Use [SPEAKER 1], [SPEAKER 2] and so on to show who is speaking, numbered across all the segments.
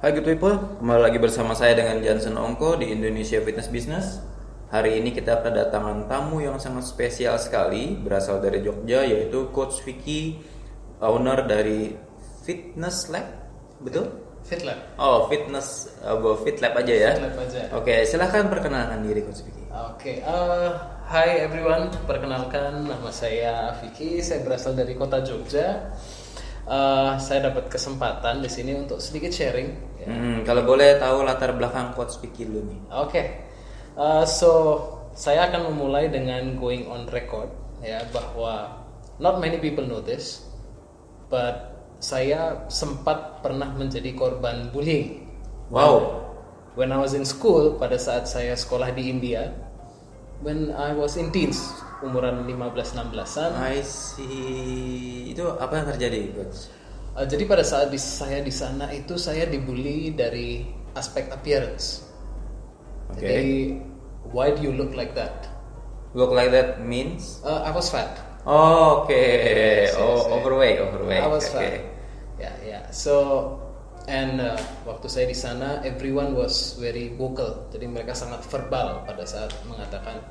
[SPEAKER 1] Hai good people, kembali lagi bersama saya dengan Johnson Ongko di Indonesia Fitness Business. Hari ini kita kedatangan tamu yang sangat spesial sekali, berasal dari Jogja yaitu Coach Vicky, owner dari Fitness Lab, betul?
[SPEAKER 2] Fit Lab.
[SPEAKER 1] Oh, Fitness, uh, Fit Lab aja ya.
[SPEAKER 2] Fit Lab aja.
[SPEAKER 1] Oke, silahkan perkenalkan diri Coach Vicky.
[SPEAKER 2] Oke, eh, hi everyone. Perkenalkan nama saya Vicky. Saya berasal dari kota Jogja. Eh, saya dapat kesempatan di sini untuk sedikit sharing. Ya.
[SPEAKER 1] Hmm, kalau boleh tahu latar belakang Coach Vicky dulu nih.
[SPEAKER 2] Oke, Eh, so saya akan memulai dengan going on record ya bahwa not many people notice, but saya sempat pernah menjadi korban bullying.
[SPEAKER 1] Wow,
[SPEAKER 2] When I was in school, pada saat saya sekolah di India, when I was in teens, umuran 15-16an,
[SPEAKER 1] I see. Itu apa yang terjadi Coach?
[SPEAKER 2] uh, jadi pada saat di- saya di sana itu saya dibully dari aspek appearance.
[SPEAKER 1] Oke.
[SPEAKER 2] Jadi, why do you look like that?
[SPEAKER 1] Look like that means?
[SPEAKER 2] Uh, I was fat.
[SPEAKER 1] Oh, oke.
[SPEAKER 2] Iya, Yes, yes,
[SPEAKER 1] Oh,
[SPEAKER 2] yes.
[SPEAKER 1] overweight, overweight.
[SPEAKER 2] I was
[SPEAKER 1] Oke.
[SPEAKER 2] fat. Ya, ya. So, and uh, waktu saya di sana, everyone was very vocal. Jadi mereka sangat verbal pada saat mengatakan,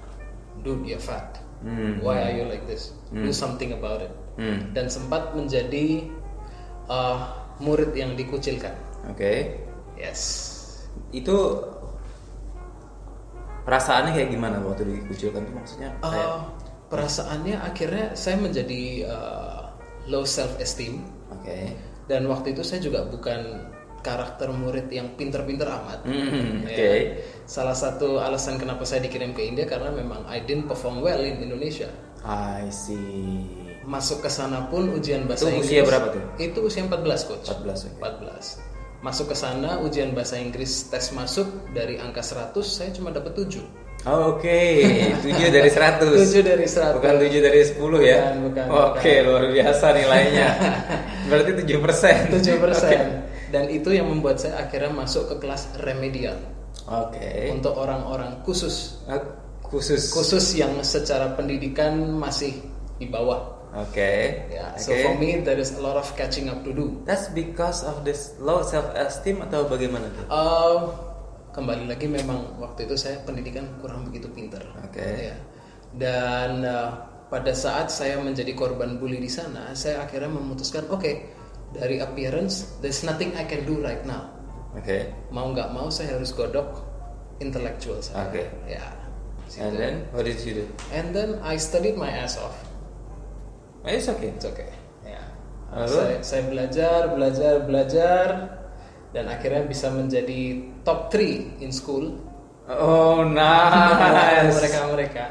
[SPEAKER 2] dude, you're fat.
[SPEAKER 1] Hmm.
[SPEAKER 2] Why are you like this? Do something about it.
[SPEAKER 1] Hmm.
[SPEAKER 2] Dan sempat menjadi uh, murid yang dikucilkan.
[SPEAKER 1] Oke.
[SPEAKER 2] Yes.
[SPEAKER 1] Itu perasaannya kayak gimana waktu dikucilkan tuh maksudnya?
[SPEAKER 2] Uh,
[SPEAKER 1] Kayak,
[SPEAKER 2] perasaannya akhirnya saya menjadi uh, low self esteem
[SPEAKER 1] oke.
[SPEAKER 2] dan waktu itu saya juga bukan karakter murid yang pinter-pinter amat.
[SPEAKER 1] Hmm,
[SPEAKER 2] Ya.
[SPEAKER 1] oke.
[SPEAKER 2] Salah satu alasan kenapa saya dikirim ke India karena memang I didn't perform well in Indonesia.
[SPEAKER 1] I see.
[SPEAKER 2] Masuk ke sana pun ujian
[SPEAKER 1] Itu
[SPEAKER 2] bahasa Inggris.
[SPEAKER 1] usia berapa tuh?
[SPEAKER 2] Itu usia 14, coach.
[SPEAKER 1] 14 oke.
[SPEAKER 2] 14. Masuk ke sana ujian bahasa Inggris tes masuk dari angka 100 saya cuma dapat 7.
[SPEAKER 1] Oh, oke. 7 dari 100.
[SPEAKER 2] 7 dari 100.
[SPEAKER 1] Bukan 7 dari 10 ya?
[SPEAKER 2] Bukan, bukan,
[SPEAKER 1] Oke, luar biasa nilainya. Berarti 7%.
[SPEAKER 2] 7
[SPEAKER 1] Oke.
[SPEAKER 2] Dan itu yang membuat saya akhirnya masuk ke kelas remedial
[SPEAKER 1] Oke.
[SPEAKER 2] untuk orang-orang khusus
[SPEAKER 1] Ah, Khusus.
[SPEAKER 2] khusus yang secara pendidikan masih di bawah.
[SPEAKER 1] Oke.
[SPEAKER 2] Ya, so
[SPEAKER 1] Oke.
[SPEAKER 2] for me there is a lot of catching up to do.
[SPEAKER 1] That's because of this low self esteem atau bagaimana tuh?
[SPEAKER 2] Uh, kembali lagi memang waktu itu saya pendidikan kurang begitu pinter.
[SPEAKER 1] Oke.
[SPEAKER 2] Ya. Dan uh, pada saat saya menjadi korban bully di sana, saya akhirnya memutuskan, oke, dari appearance there's nothing I can do right now.
[SPEAKER 1] Oke.
[SPEAKER 2] Mau nggak mau saya harus godok intellectual saya.
[SPEAKER 1] Oke.
[SPEAKER 2] Ya.
[SPEAKER 1] And then what did you do?
[SPEAKER 2] And then I studied my ass off.
[SPEAKER 1] Oh, it's okay.
[SPEAKER 2] It's okay. Ya.
[SPEAKER 1] Lalu?
[SPEAKER 2] Saya, saya belajar, belajar, belajar, dan akhirnya bisa menjadi top 3 in school.
[SPEAKER 1] Oh nice.
[SPEAKER 2] mereka mereka.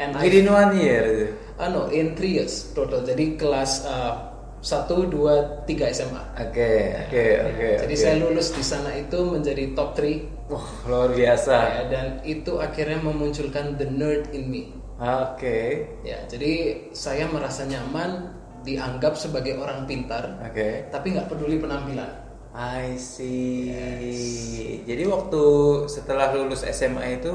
[SPEAKER 2] And I,
[SPEAKER 1] Within one year. itu.
[SPEAKER 2] ah, no, in 3 years total. Jadi kelas uh, 1, 2, 3 SMA.
[SPEAKER 1] Oke oke oke.
[SPEAKER 2] Jadi
[SPEAKER 1] oke.
[SPEAKER 2] saya lulus di sana itu menjadi top 3
[SPEAKER 1] Wah luar biasa.
[SPEAKER 2] dan itu akhirnya memunculkan the nerd in me.
[SPEAKER 1] Oke
[SPEAKER 2] Ya, jadi saya merasa nyaman dianggap sebagai orang pintar,
[SPEAKER 1] oke.
[SPEAKER 2] tapi nggak peduli penampilan.
[SPEAKER 1] I see. Jadi waktu setelah lulus SMA itu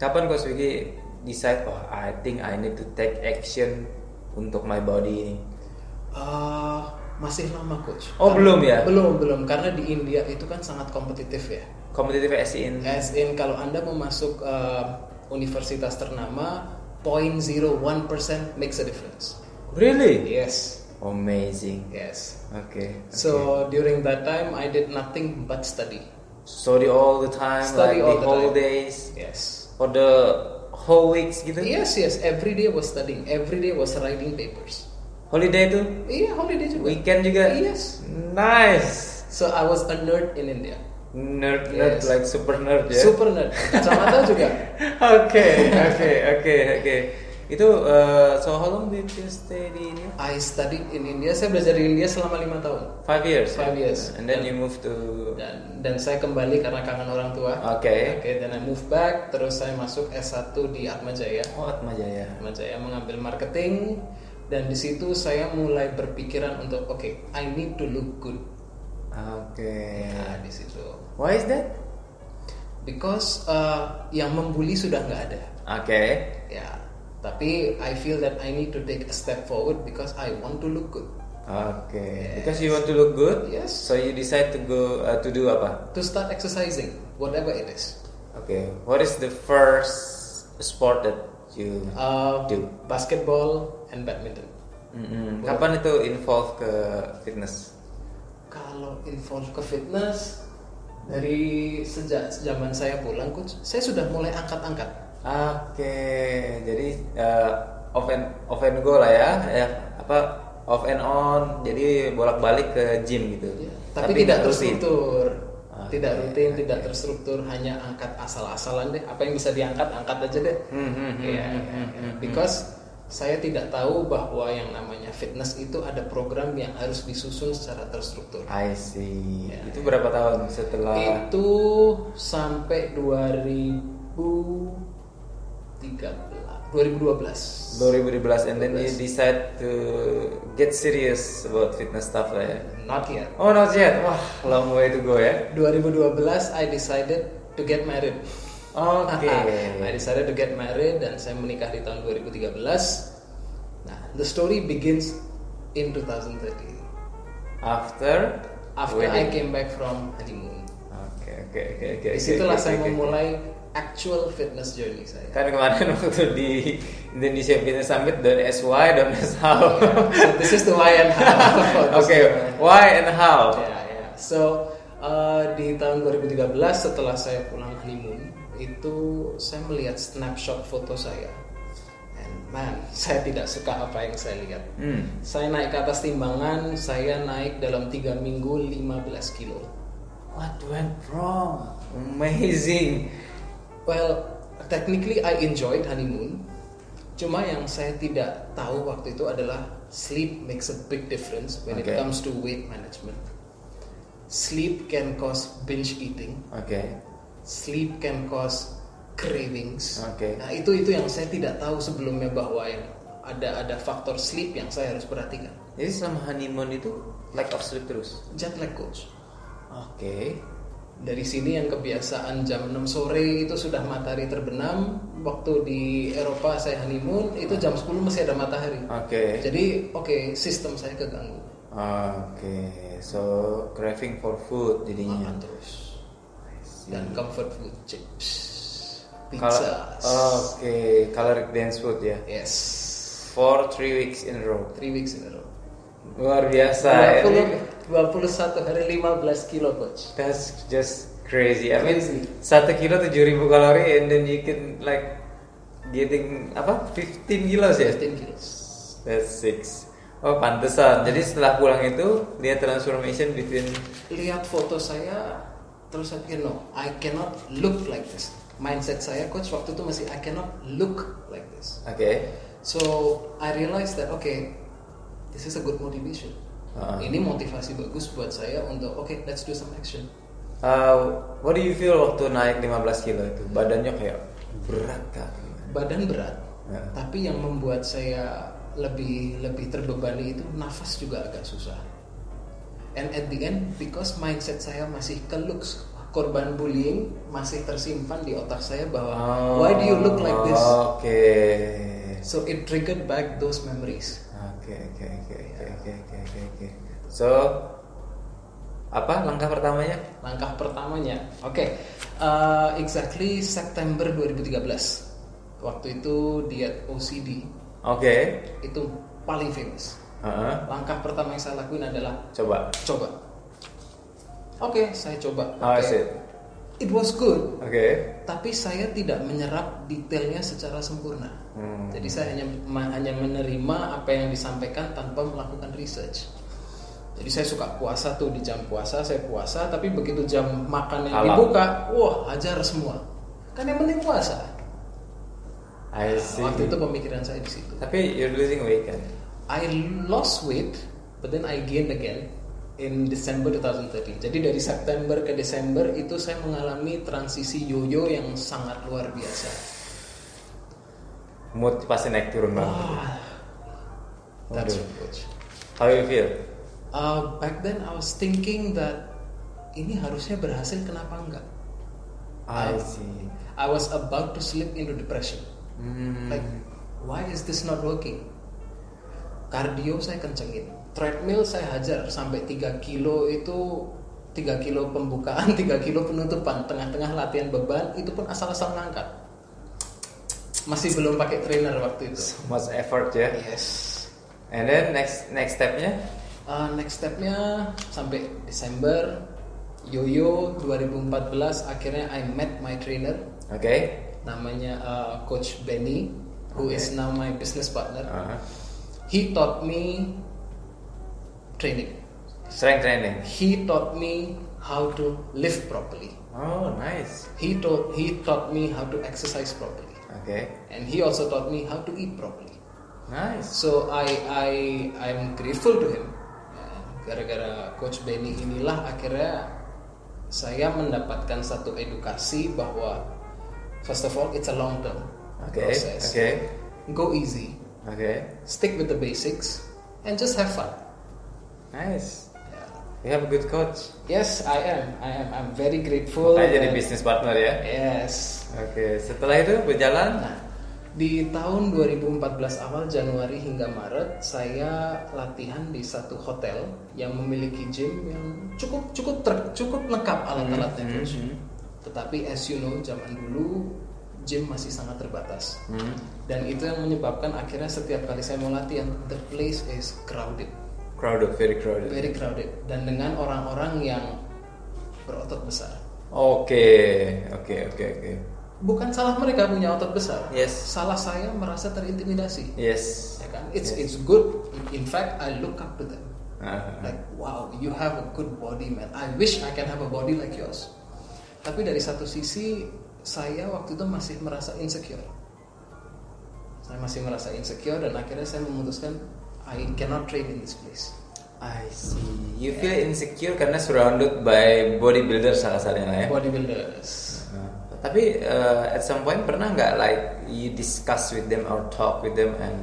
[SPEAKER 1] kapan Coach Vicky decide oh I think I need to take action untuk my body ini?
[SPEAKER 2] Eh, masih lama coach.
[SPEAKER 1] Oh, belum ya?
[SPEAKER 2] Belum belum karena di India itu kan sangat kompetitif ya.
[SPEAKER 1] Competitive as in
[SPEAKER 2] As in kalau anda mau masuk eh, universitas ternama, 0.01% makes a difference.
[SPEAKER 1] Really?
[SPEAKER 2] Yes
[SPEAKER 1] Amazing.
[SPEAKER 2] yes.
[SPEAKER 1] Okay.
[SPEAKER 2] So during that time I did nothing but study.
[SPEAKER 1] study all the time, like
[SPEAKER 2] Study all
[SPEAKER 1] the,
[SPEAKER 2] the
[SPEAKER 1] whole
[SPEAKER 2] time.
[SPEAKER 1] days
[SPEAKER 2] Yes.
[SPEAKER 1] or the whole weeks gitu.
[SPEAKER 2] Yes yes. Every day was studying. Every day was writing papers.
[SPEAKER 1] Holiday tuh,
[SPEAKER 2] Iya holiday juga.
[SPEAKER 1] weekend juga.
[SPEAKER 2] Yes.
[SPEAKER 1] Nice.
[SPEAKER 2] So I was a nerd in India.
[SPEAKER 1] Nerd, nerd,
[SPEAKER 2] Yes.
[SPEAKER 1] like super nerd ya.
[SPEAKER 2] Super nerd. Kacamata juga.
[SPEAKER 1] Oke, oke, oke, oke. Itu uh, so how long did you stay di India?
[SPEAKER 2] I studied in India. Saya belajar di India selama lima tahun.
[SPEAKER 1] Five years.
[SPEAKER 2] Five
[SPEAKER 1] ya?
[SPEAKER 2] years.
[SPEAKER 1] And then you moved to.
[SPEAKER 2] Dan, dan saya kembali karena kangen orang tua.
[SPEAKER 1] Oke.
[SPEAKER 2] Oke, dan I move back. Terus saya masuk S1 di Atmajaya.
[SPEAKER 1] Oh Atmajaya.
[SPEAKER 2] Atmajaya mengambil marketing. Dan di situ saya mulai berpikiran untuk, oke, I need to look good.
[SPEAKER 1] Oke.
[SPEAKER 2] Nah, di situ.
[SPEAKER 1] Why is that?
[SPEAKER 2] Because uh, yang membuli sudah nggak ada.
[SPEAKER 1] Oke.
[SPEAKER 2] Ya. Tapi I feel that I need to take a step forward because I want to look good.
[SPEAKER 1] Okay. Because you want to look good,
[SPEAKER 2] Yes.
[SPEAKER 1] so you decide to go uh, to do apa?
[SPEAKER 2] to start exercising, whatever it is.
[SPEAKER 1] Okay. What is the first sport that you?
[SPEAKER 2] Uh,
[SPEAKER 1] Do.
[SPEAKER 2] basketball and badminton.
[SPEAKER 1] Mm-mm. Kapan itu involve ke fitness?
[SPEAKER 2] Kalau involve ke fitness dari sejak zaman saya pulang coach, saya sudah mulai angkat-angkat.
[SPEAKER 1] Oke, jadi eh, off and off and go lah ya, ya apa off and on, jadi bolak-balik ke gym gitu.
[SPEAKER 2] Ya, Tapi, tidak
[SPEAKER 1] nggak rutin.
[SPEAKER 2] terstruktur.
[SPEAKER 1] Oke,
[SPEAKER 2] tidak rutin,
[SPEAKER 1] oke.
[SPEAKER 2] tidak terstruktur, hanya angkat asal-asalan deh. Apa yang bisa diangkat, angkat aja deh.
[SPEAKER 1] Hmm, hmm, hmm, hmm,
[SPEAKER 2] Iya, iya,
[SPEAKER 1] hmm,
[SPEAKER 2] iya.
[SPEAKER 1] hmm.
[SPEAKER 2] Because saya tidak tahu bahwa yang namanya fitness itu ada program yang harus disusun secara terstruktur.
[SPEAKER 1] I see.
[SPEAKER 2] Ya,
[SPEAKER 1] itu berapa tahun setelah?
[SPEAKER 2] Itu sampai 2013, 2012.
[SPEAKER 1] 2012 and then you decide to get serious about fitness stuff lah ya.
[SPEAKER 2] Not yet.
[SPEAKER 1] Oh not yet, wah long way to go ya.
[SPEAKER 2] 2012 I decided to get married.
[SPEAKER 1] Oke.
[SPEAKER 2] I decided to get married dan saya menikah di tahun 2013. Nah, the story begins in 2013
[SPEAKER 1] After
[SPEAKER 2] after I
[SPEAKER 1] wedding.
[SPEAKER 2] came back from honeymoon.
[SPEAKER 1] Oke oke oke oke. oke,
[SPEAKER 2] Disitulah
[SPEAKER 1] oke,
[SPEAKER 2] saya
[SPEAKER 1] oke, oke.
[SPEAKER 2] memulai actual fitness journey saya.
[SPEAKER 1] Kan kemarin waktu di Indonesia Business Summit don't ask why, don't ask how.
[SPEAKER 2] So this is the why and how.
[SPEAKER 1] Oke, why and how?
[SPEAKER 2] Ya, ya. So uh, di tahun 2013 setelah saya pulang honeymoon itu saya melihat snapshot foto saya. And man, saya tidak suka apa yang saya lihat.
[SPEAKER 1] Hmm.
[SPEAKER 2] Saya naik ke atas timbangan, saya naik dalam 3 minggu 15 kilo.
[SPEAKER 1] What went wrong? Amazing.
[SPEAKER 2] Well, technically I enjoyed honeymoon. Cuma yang saya tidak tahu waktu itu adalah sleep makes a big difference when it
[SPEAKER 1] Okay.
[SPEAKER 2] comes to weight management. Sleep can cause binge eating.
[SPEAKER 1] Oke.
[SPEAKER 2] sleep can cause cravings.
[SPEAKER 1] Oke.
[SPEAKER 2] Nah, itu itu yang saya tidak tahu sebelumnya bahwa yang ada ada faktor sleep yang saya harus perhatikan.
[SPEAKER 1] Jadi selama honeymoon itu lack of sleep terus.
[SPEAKER 2] Jet lag coach.
[SPEAKER 1] Oke.
[SPEAKER 2] Dari sini yang kebiasaan jam 6 sore itu sudah matahari terbenam, waktu di Eropa saya honeymoon itu jam 10 masih ada matahari.
[SPEAKER 1] Oke.
[SPEAKER 2] Jadi oke, sistem saya keganggu.
[SPEAKER 1] Oke. So craving for food
[SPEAKER 2] Makan
[SPEAKER 1] jadinya.
[SPEAKER 2] terus. Dan comfort food chips,
[SPEAKER 1] Iya. Kalau eh,
[SPEAKER 2] pizza.
[SPEAKER 1] oke, caloric dense food ya.
[SPEAKER 2] Yes.
[SPEAKER 1] For three weeks in a row.
[SPEAKER 2] Three weeks in a row.
[SPEAKER 1] Luar biasa. ya. ini.
[SPEAKER 2] 20, 21 hari 15 kilo coach
[SPEAKER 1] That's just crazy. I mean,
[SPEAKER 2] Crazy.
[SPEAKER 1] satu kilo tujuh ribu kalori, and then you can like getting apa? 15 kilos ya?
[SPEAKER 2] 15 kilos
[SPEAKER 1] That's six. Oh pantesan. Jadi setelah pulang itu lihat transformation between.
[SPEAKER 2] lihat foto saya terus saya pikir no I cannot look like this mindset saya coach waktu itu masih I cannot look like this
[SPEAKER 1] Oke.
[SPEAKER 2] so I realized that okay this is a good motivation
[SPEAKER 1] Ah.
[SPEAKER 2] ini motivasi bagus buat saya untuk okay let's do some action
[SPEAKER 1] Uh, what do you feel waktu naik 15 kilo itu? Badannya kayak berat kak.
[SPEAKER 2] badan berat
[SPEAKER 1] Ya.
[SPEAKER 2] tapi yang membuat saya lebih lebih terbebani itu nafas juga agak susah and at the end because mindset saya masih ke looks korban bullying masih tersimpan di otak saya bahwa
[SPEAKER 1] Oh.
[SPEAKER 2] Oh. why do you look like this
[SPEAKER 1] Oke.
[SPEAKER 2] so it triggered back those memories
[SPEAKER 1] Oke oke oke oke oke oke oke, oke. So apa langkah pertamanya?
[SPEAKER 2] langkah pertamanya oke uh, exactly September 2013 waktu itu diet OCD
[SPEAKER 1] Oke.
[SPEAKER 2] itu paling famous
[SPEAKER 1] Heeh.
[SPEAKER 2] langkah pertama yang saya lakuin adalah
[SPEAKER 1] Coba.
[SPEAKER 2] coba oke saya coba
[SPEAKER 1] How is
[SPEAKER 2] Oke.
[SPEAKER 1] it?
[SPEAKER 2] it was good
[SPEAKER 1] Oh, Oke.
[SPEAKER 2] tapi saya tidak menyerap detailnya secara sempurna
[SPEAKER 1] Hmm.
[SPEAKER 2] jadi saya hanya ma- hanya menerima apa yang disampaikan tanpa melakukan research jadi saya suka puasa tuh di jam puasa saya puasa tapi begitu jam makan yang
[SPEAKER 1] Halal.
[SPEAKER 2] dibuka wah hajar semua kan yang penting puasa
[SPEAKER 1] I see.
[SPEAKER 2] waktu itu pemikiran saya di situ
[SPEAKER 1] Tapi you're losing weight kan?
[SPEAKER 2] I lost weight, but then I gained again in December 2013. Jadi dari September ke Desember itu saya mengalami transisi yoyo yang sangat luar biasa.
[SPEAKER 1] Mood pasti naik turun banget.
[SPEAKER 2] Wah, that's
[SPEAKER 1] Waduh.
[SPEAKER 2] huge.
[SPEAKER 1] How you feel?
[SPEAKER 2] Uh, back then I was thinking that ini harusnya berhasil kenapa enggak?
[SPEAKER 1] I see.
[SPEAKER 2] I was about to slip into depression.
[SPEAKER 1] Hmm.
[SPEAKER 2] Like why is this not working? Cardio saya kencengin. treadmill saya hajar sampai 3 kilo itu 3 kilo pembukaan, 3 kilo penutupan, tengah-tengah latihan beban itu pun asal-asal ngangkat. Masih belum pakai trainer waktu itu.
[SPEAKER 1] Much effort ya.
[SPEAKER 2] Yes.
[SPEAKER 1] And then next next stepnya
[SPEAKER 2] Uh, next stepnya sampai Desember Yoyo 2014 akhirnya I met my trainer
[SPEAKER 1] oke.
[SPEAKER 2] namanya uh, Coach Benny who
[SPEAKER 1] Okay.
[SPEAKER 2] is now my business partner.
[SPEAKER 1] Aha.
[SPEAKER 2] He taught me training.
[SPEAKER 1] Strength training.
[SPEAKER 2] He taught me how to live properly.
[SPEAKER 1] Oh nice.
[SPEAKER 2] He taught he taught me how to exercise properly,
[SPEAKER 1] Oke.
[SPEAKER 2] and he also taught me how to eat properly.
[SPEAKER 1] Nice.
[SPEAKER 2] So I I I'm grateful to him. Gara-gara Coach Benny inilah akhirnya saya mendapatkan satu edukasi bahwa first of all it's a long term
[SPEAKER 1] Oke.
[SPEAKER 2] process.
[SPEAKER 1] Oke.
[SPEAKER 2] Go easy,
[SPEAKER 1] Oke.
[SPEAKER 2] stick with the basics, and just have fun.
[SPEAKER 1] Nice.
[SPEAKER 2] Yeah.
[SPEAKER 1] You have a good coach.
[SPEAKER 2] Yes, I am. I am. I'm very grateful.
[SPEAKER 1] Makanya jadi
[SPEAKER 2] and-
[SPEAKER 1] business partner ya.
[SPEAKER 2] Yes.
[SPEAKER 1] Oke. Setelah itu berjalan.
[SPEAKER 2] Nah, di tahun 2014 awal Januari hingga Maret saya latihan di satu hotel yang memiliki gym yang cukup cukup ter- cukup lengkap alat-alatnya
[SPEAKER 1] Hmm,
[SPEAKER 2] Coach.
[SPEAKER 1] hmm,
[SPEAKER 2] Tetapi as you know zaman dulu gym masih sangat terbatas.
[SPEAKER 1] hmm.
[SPEAKER 2] Dan itu yang menyebabkan akhirnya setiap kali saya mau latihan the place is crowded,
[SPEAKER 1] Crowded, very crowded. Oke.
[SPEAKER 2] very crowded dan dengan orang-orang yang berotot besar.
[SPEAKER 1] Oke. Oke. Oke.
[SPEAKER 2] Bukan salah mereka punya otot besar.
[SPEAKER 1] Yes.
[SPEAKER 2] Salah saya merasa terintimidasi.
[SPEAKER 1] Yes.
[SPEAKER 2] ya kan? It's
[SPEAKER 1] Yes.
[SPEAKER 2] it's good. In fact, I look up to them.
[SPEAKER 1] Aha.
[SPEAKER 2] Like, wow, you have a good body, man. I wish I can have a body like yours. Tapi dari satu sisi, saya waktu itu masih merasa insecure. Saya masih merasa insecure dan akhirnya saya memutuskan I cannot train in this place.
[SPEAKER 1] I see. You feel insecure karena surrounded by bodybuilder salah satunya lah ya.
[SPEAKER 2] Bodybuilders.
[SPEAKER 1] Uh, Tapi uh, at some point pernah nggak like you discuss with them or talk with them and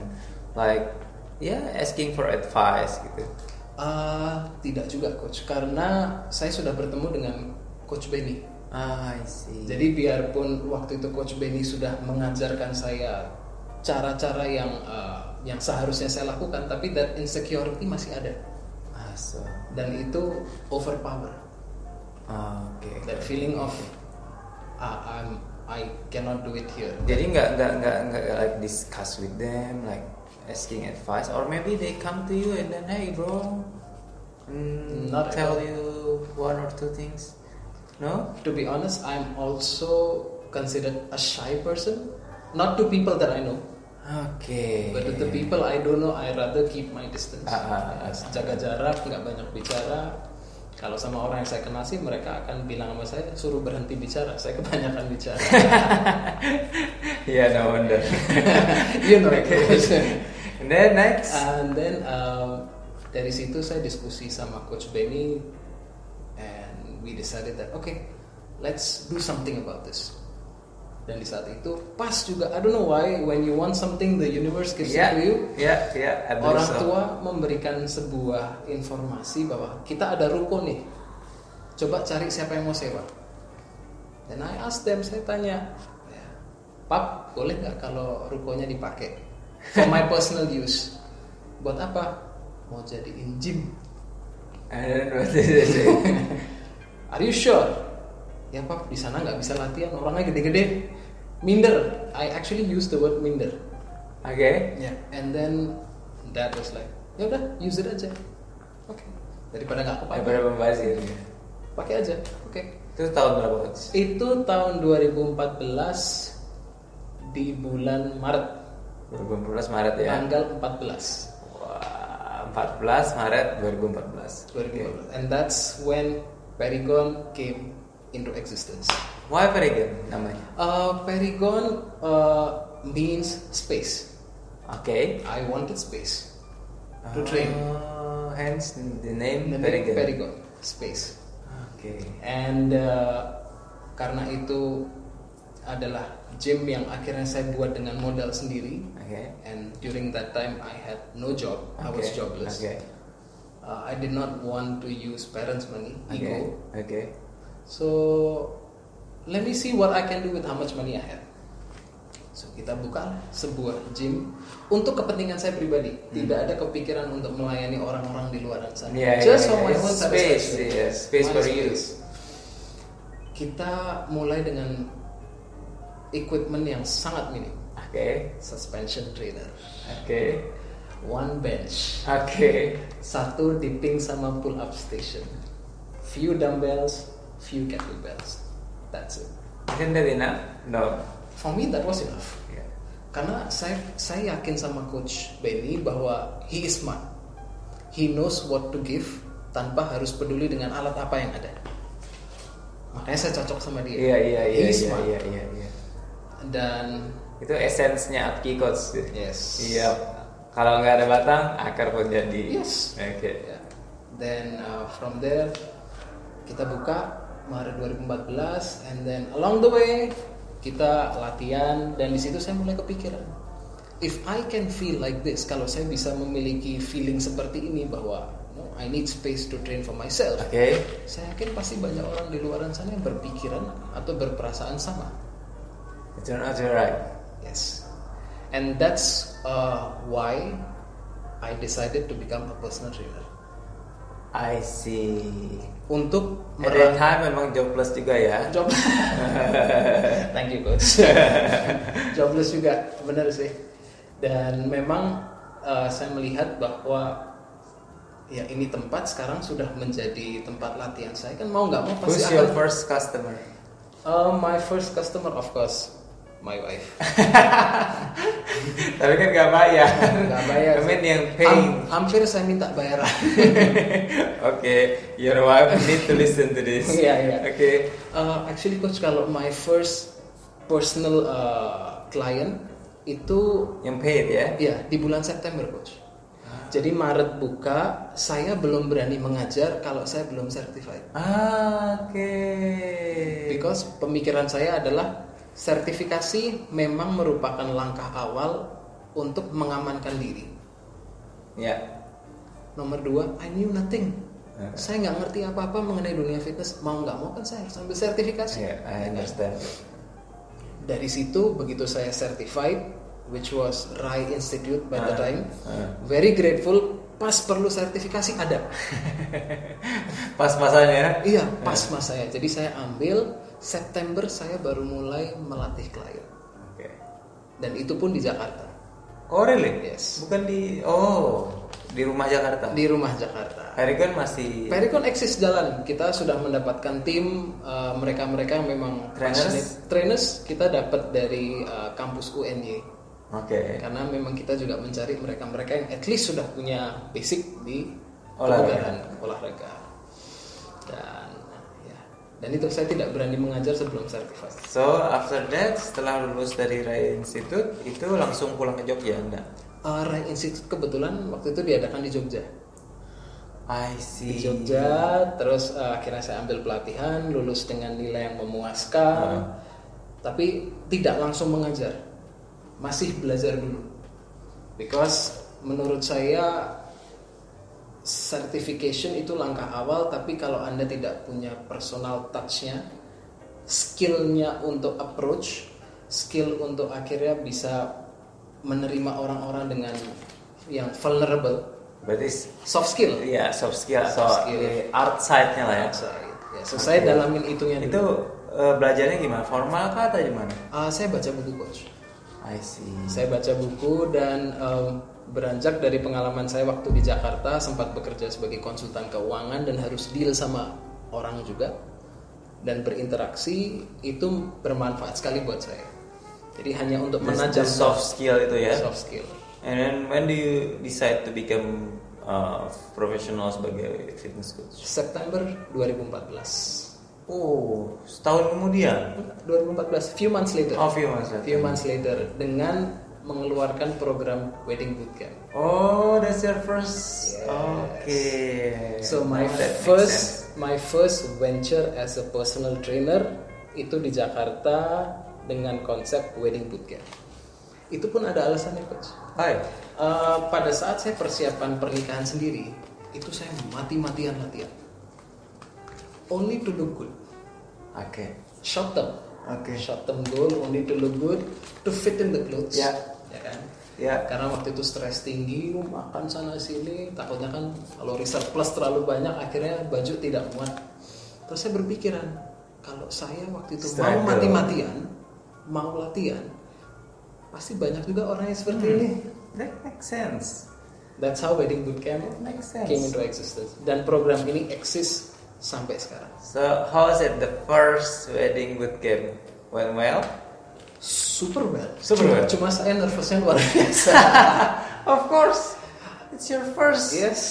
[SPEAKER 1] like ya yeah, asking for advice gitu.
[SPEAKER 2] Ah, tidak juga coach, karena saya sudah bertemu dengan coach Benny.
[SPEAKER 1] Ah, I see.
[SPEAKER 2] Jadi biarpun waktu itu Coach Benny sudah mengajarkan saya cara-cara yang eh, yang seharusnya saya lakukan, tapi that insecurity masih ada
[SPEAKER 1] ah, so,
[SPEAKER 2] dan itu overpower.
[SPEAKER 1] ah, oke.
[SPEAKER 2] That feeling of "Ah, I'm I cannot do it here.
[SPEAKER 1] Jadi nggak nggak nggak nggak like discuss with them like asking advice or maybe they come to you and then hey bro, mm,
[SPEAKER 2] Not at
[SPEAKER 1] tell
[SPEAKER 2] all.
[SPEAKER 1] you one or two things. No?
[SPEAKER 2] To be honest, I'm also considered a shy person. Not to people that I know,
[SPEAKER 1] Oke.
[SPEAKER 2] but to the people I don't know, I rather keep my distance.
[SPEAKER 1] Ah, ah, ah,
[SPEAKER 2] Yes,
[SPEAKER 1] ah.
[SPEAKER 2] jaga jarak, nggak banyak bicara. Kalau sama orang yang saya kenal sih, mereka akan bilang sama saya suruh berhenti bicara. Saya kebanyakan bicara.
[SPEAKER 1] Yeah, no wonder.
[SPEAKER 2] you know.
[SPEAKER 1] And then next.
[SPEAKER 2] Gitu. And then um, dari situ saya diskusi sama Coach Benny, and we decided that okay, let's do something about this. Dan di saat itu pas juga, I don't know why when you want something the universe gives
[SPEAKER 1] Ya,
[SPEAKER 2] it to you.
[SPEAKER 1] ya, ya, I believe
[SPEAKER 2] Orang
[SPEAKER 1] so.
[SPEAKER 2] tua memberikan sebuah informasi bahwa kita ada ruko nih. Coba cari siapa yang mau sewa. Dan I asked them, saya tanya, "Ya, Pap, boleh nggak kalau rukonya dipakai for my personal use? Buat apa? Mau jadiin gym.
[SPEAKER 1] I don't know what to say.
[SPEAKER 2] Are you sure? Ya Pap, di sana nggak bisa latihan, orangnya gede-gede. Minder. I actually use the word minder.
[SPEAKER 1] Oke.
[SPEAKER 2] Yeah. And then dad was like, ya udah use it aja. Oke. Daripada nggak
[SPEAKER 1] Daripada
[SPEAKER 2] kepake,
[SPEAKER 1] membazir.
[SPEAKER 2] pakai aja. Oke.
[SPEAKER 1] Itu tahun berapa? Coach?
[SPEAKER 2] Itu tahun 2014 di bulan Maret,
[SPEAKER 1] 2014 Maret ya.
[SPEAKER 2] tanggal 14.
[SPEAKER 1] Wah, 14 Maret 2014.
[SPEAKER 2] 2014. And that's when Perigon came into existence.
[SPEAKER 1] Why Perigon namanya?
[SPEAKER 2] Uh, Perigon uh, means space.
[SPEAKER 1] Oke.
[SPEAKER 2] I wanted space. To train.
[SPEAKER 1] Oh, hence the name
[SPEAKER 2] The name
[SPEAKER 1] Perigon.
[SPEAKER 2] Perigon, space.
[SPEAKER 1] Oke.
[SPEAKER 2] And uh, karena itu adalah gym yang akhirnya saya buat dengan modal sendiri.
[SPEAKER 1] Oke.
[SPEAKER 2] And during that time I had no job. I was
[SPEAKER 1] Oke,
[SPEAKER 2] jobless.
[SPEAKER 1] Oke.
[SPEAKER 2] Uh, I did not want to use parents' money,
[SPEAKER 1] Oke.
[SPEAKER 2] ego.
[SPEAKER 1] Oke.
[SPEAKER 2] So let me see what I can do with how much money I have. So, kita buka sebuah gym untuk kepentingan saya pribadi.
[SPEAKER 1] Hmm.
[SPEAKER 2] Tidak ada kepikiran untuk melayani orang-orang di luar sana.
[SPEAKER 1] Yeah,
[SPEAKER 2] Just
[SPEAKER 1] yeah,
[SPEAKER 2] for my
[SPEAKER 1] yeah. ya,
[SPEAKER 2] own
[SPEAKER 1] Space,
[SPEAKER 2] satisfaction.
[SPEAKER 1] yeah, space
[SPEAKER 2] My
[SPEAKER 1] for you.
[SPEAKER 2] Kita mulai dengan equipment yang sangat minim.
[SPEAKER 1] Oke,
[SPEAKER 2] Suspension trainer,
[SPEAKER 1] oke,
[SPEAKER 2] one bench,
[SPEAKER 1] oke.
[SPEAKER 2] satu dipping sama pull up station. Few dumbbells, few kettlebells. That's it.
[SPEAKER 1] Isn't that enough? No.
[SPEAKER 2] For me that was enough.
[SPEAKER 1] Yeah.
[SPEAKER 2] Karena saya saya yakin sama coach Benny bahwa he is smart. He knows what to give tanpa harus peduli dengan alat apa yang ada. Makanya saya cocok sama dia.
[SPEAKER 1] Iya, iya,
[SPEAKER 2] He
[SPEAKER 1] iya,
[SPEAKER 2] is
[SPEAKER 1] iya,
[SPEAKER 2] smart.
[SPEAKER 1] iya, iya, iya.
[SPEAKER 2] Dan
[SPEAKER 1] Itu esensnya Atki Coach.
[SPEAKER 2] yes.
[SPEAKER 1] Iya. Kalau nggak ada batang, akar pun jadi.
[SPEAKER 2] Yes.
[SPEAKER 1] Oke.
[SPEAKER 2] Yeah. Ya. Then uh, from there kita buka Maret 2014 and then along the way kita latihan dan di situ saya mulai kepikiran if I can feel like this kalau saya bisa memiliki feeling seperti ini bahwa no, I need space to train for myself
[SPEAKER 1] Oke.
[SPEAKER 2] saya yakin pasti banyak orang di luaran sana yang berpikiran atau berperasaan sama
[SPEAKER 1] It's turn out you're right.
[SPEAKER 2] yes and that's uh, why I decided to become a personal trainer
[SPEAKER 1] I see.
[SPEAKER 2] untuk
[SPEAKER 1] At that
[SPEAKER 2] merangkul
[SPEAKER 1] time memang jobless juga ya.
[SPEAKER 2] job thank you coach jobless juga benar sih dan memang eh, saya melihat bahwa ya ini tempat sekarang sudah menjadi tempat latihan saya kan mau nggak mau pasti
[SPEAKER 1] Who's your
[SPEAKER 2] akan
[SPEAKER 1] first customer?
[SPEAKER 2] Eh, my first customer of course my wife
[SPEAKER 1] Tapi kan nggak bayar.
[SPEAKER 2] nggak bayar
[SPEAKER 1] I mean
[SPEAKER 2] sih.
[SPEAKER 1] yang paying.
[SPEAKER 2] Ham- hampir saya minta bayaran
[SPEAKER 1] Oke, your wife need to listen to this.
[SPEAKER 2] Iya, iya.
[SPEAKER 1] Oke.
[SPEAKER 2] Eh, actually coach kalau my first personal eh, client itu
[SPEAKER 1] Yang paid ya.
[SPEAKER 2] Iya, di bulan September, Coach. Jadi Maret buka, saya belum berani mengajar kalau saya belum certified.
[SPEAKER 1] Ah, oke.
[SPEAKER 2] Because pemikiran saya adalah sertifikasi memang merupakan langkah awal untuk mengamankan diri.
[SPEAKER 1] Ya.
[SPEAKER 2] Nomor dua, I knew nothing.
[SPEAKER 1] Hmm.
[SPEAKER 2] Saya nggak ngerti apa-apa mengenai dunia fitness. Mau nggak mau kan saya harus ambil sertifikasi.
[SPEAKER 1] Ya, I understand.
[SPEAKER 2] Dari situ begitu saya certified, which was Rai Institute by the
[SPEAKER 1] Ah,
[SPEAKER 2] time,
[SPEAKER 1] ah.
[SPEAKER 2] very grateful. Pas perlu sertifikasi ada.
[SPEAKER 1] Pas-pasan ya.
[SPEAKER 2] Iya, pas mas saya. Jadi saya ambil September saya baru mulai melatih klien.
[SPEAKER 1] Oke.
[SPEAKER 2] Dan itu pun di Jakarta.
[SPEAKER 1] Oh, really?
[SPEAKER 2] Yes.
[SPEAKER 1] Bukan di Oh, di rumah Jakarta.
[SPEAKER 2] Di rumah Jakarta.
[SPEAKER 1] Paragon masih
[SPEAKER 2] Pericon eksis jalan. Kita sudah mendapatkan tim uh, mereka-mereka yang memang
[SPEAKER 1] Trainers?
[SPEAKER 2] passionate. Trainers kita dapat dari uh, kampus UNY.
[SPEAKER 1] Oke.
[SPEAKER 2] Karena memang kita juga mencari mereka-mereka yang at least sudah punya basic di
[SPEAKER 1] Olahraga.
[SPEAKER 2] kebugaran, olahraga. Dan ya. Dan itu saya tidak berani mengajar sebelum certified.
[SPEAKER 1] So after that setelah lulus dari Rai Institute itu langsung pulang ke Jogja anda?
[SPEAKER 2] Uh, Rai Institute kebetulan waktu itu diadakan di Jogja.
[SPEAKER 1] I
[SPEAKER 2] Di
[SPEAKER 1] see.
[SPEAKER 2] Jogja, terus uh, akhirnya saya ambil pelatihan, lulus dengan nilai yang memuaskan,
[SPEAKER 1] Hmm.
[SPEAKER 2] tapi tidak langsung mengajar, masih belajar dulu. Because menurut saya certification itu langkah awal, tapi kalau anda tidak punya personal touch-nya, skillnya untuk approach, skill untuk akhirnya bisa menerima orang-orang dengan yang vulnerable,
[SPEAKER 1] Berarti
[SPEAKER 2] soft skill.
[SPEAKER 1] ya soft skill atau
[SPEAKER 2] Soft skill.
[SPEAKER 1] eh, art side-nya lah ya.
[SPEAKER 2] Outside. Ya, so saya dalamin itunya
[SPEAKER 1] Itu
[SPEAKER 2] dulu.
[SPEAKER 1] eh, belajarnya gimana? Formal kah atau gimana?
[SPEAKER 2] Ah, saya baca buku coach.
[SPEAKER 1] I see.
[SPEAKER 2] Saya baca buku dan em, beranjak dari pengalaman saya waktu di Jakarta sempat bekerja sebagai konsultan keuangan dan harus deal sama orang juga dan berinteraksi itu bermanfaat sekali buat saya. Jadi hanya untuk
[SPEAKER 1] Menajam
[SPEAKER 2] menajam
[SPEAKER 1] soft skill itu ya.
[SPEAKER 2] soft skill.
[SPEAKER 1] And then when do you decide to become uh, professional sebagai fitness coach?
[SPEAKER 2] September 2014.
[SPEAKER 1] Oh, setahun kemudian.
[SPEAKER 2] 2014, few months later.
[SPEAKER 1] Oh, few months later.
[SPEAKER 2] Few months later dengan mengeluarkan program wedding bootcamp.
[SPEAKER 1] Oh, that's your first.
[SPEAKER 2] Yes.
[SPEAKER 1] Okay.
[SPEAKER 2] So my
[SPEAKER 1] Now that makes sense.
[SPEAKER 2] first my first venture as a personal trainer itu di Jakarta dengan konsep wedding bootcamp. Itu pun ada alasannya coach.
[SPEAKER 1] Hai.
[SPEAKER 2] Eh, pada saat saya persiapan pernikahan sendiri, itu saya mati-matian latihan. Only to look good,
[SPEAKER 1] Oke.
[SPEAKER 2] short term.
[SPEAKER 3] Oke.
[SPEAKER 2] short term goal only to look good to fit in the clothes
[SPEAKER 3] Ya.
[SPEAKER 2] ya kan
[SPEAKER 3] Ya.
[SPEAKER 2] karena waktu itu stres tinggi lu makan sana sini takutnya kan kalori surplus terlalu banyak akhirnya baju tidak muat terus saya berpikiran kalau saya waktu itu
[SPEAKER 1] Struggle.
[SPEAKER 2] mau mati-matian mau latihan pasti banyak juga orang yang seperti
[SPEAKER 1] Hmm.
[SPEAKER 2] ini
[SPEAKER 3] That makes sense.
[SPEAKER 2] that's how wedding bootcamp
[SPEAKER 3] Makes sense.
[SPEAKER 2] came into existence dan program ini eksis sampai sekarang
[SPEAKER 1] So how was it the first wedding bootcamp? Went well?
[SPEAKER 2] super well
[SPEAKER 1] Super well.
[SPEAKER 2] cuma saya nervousnya luar biasa
[SPEAKER 1] Of course, it's your first.
[SPEAKER 2] yes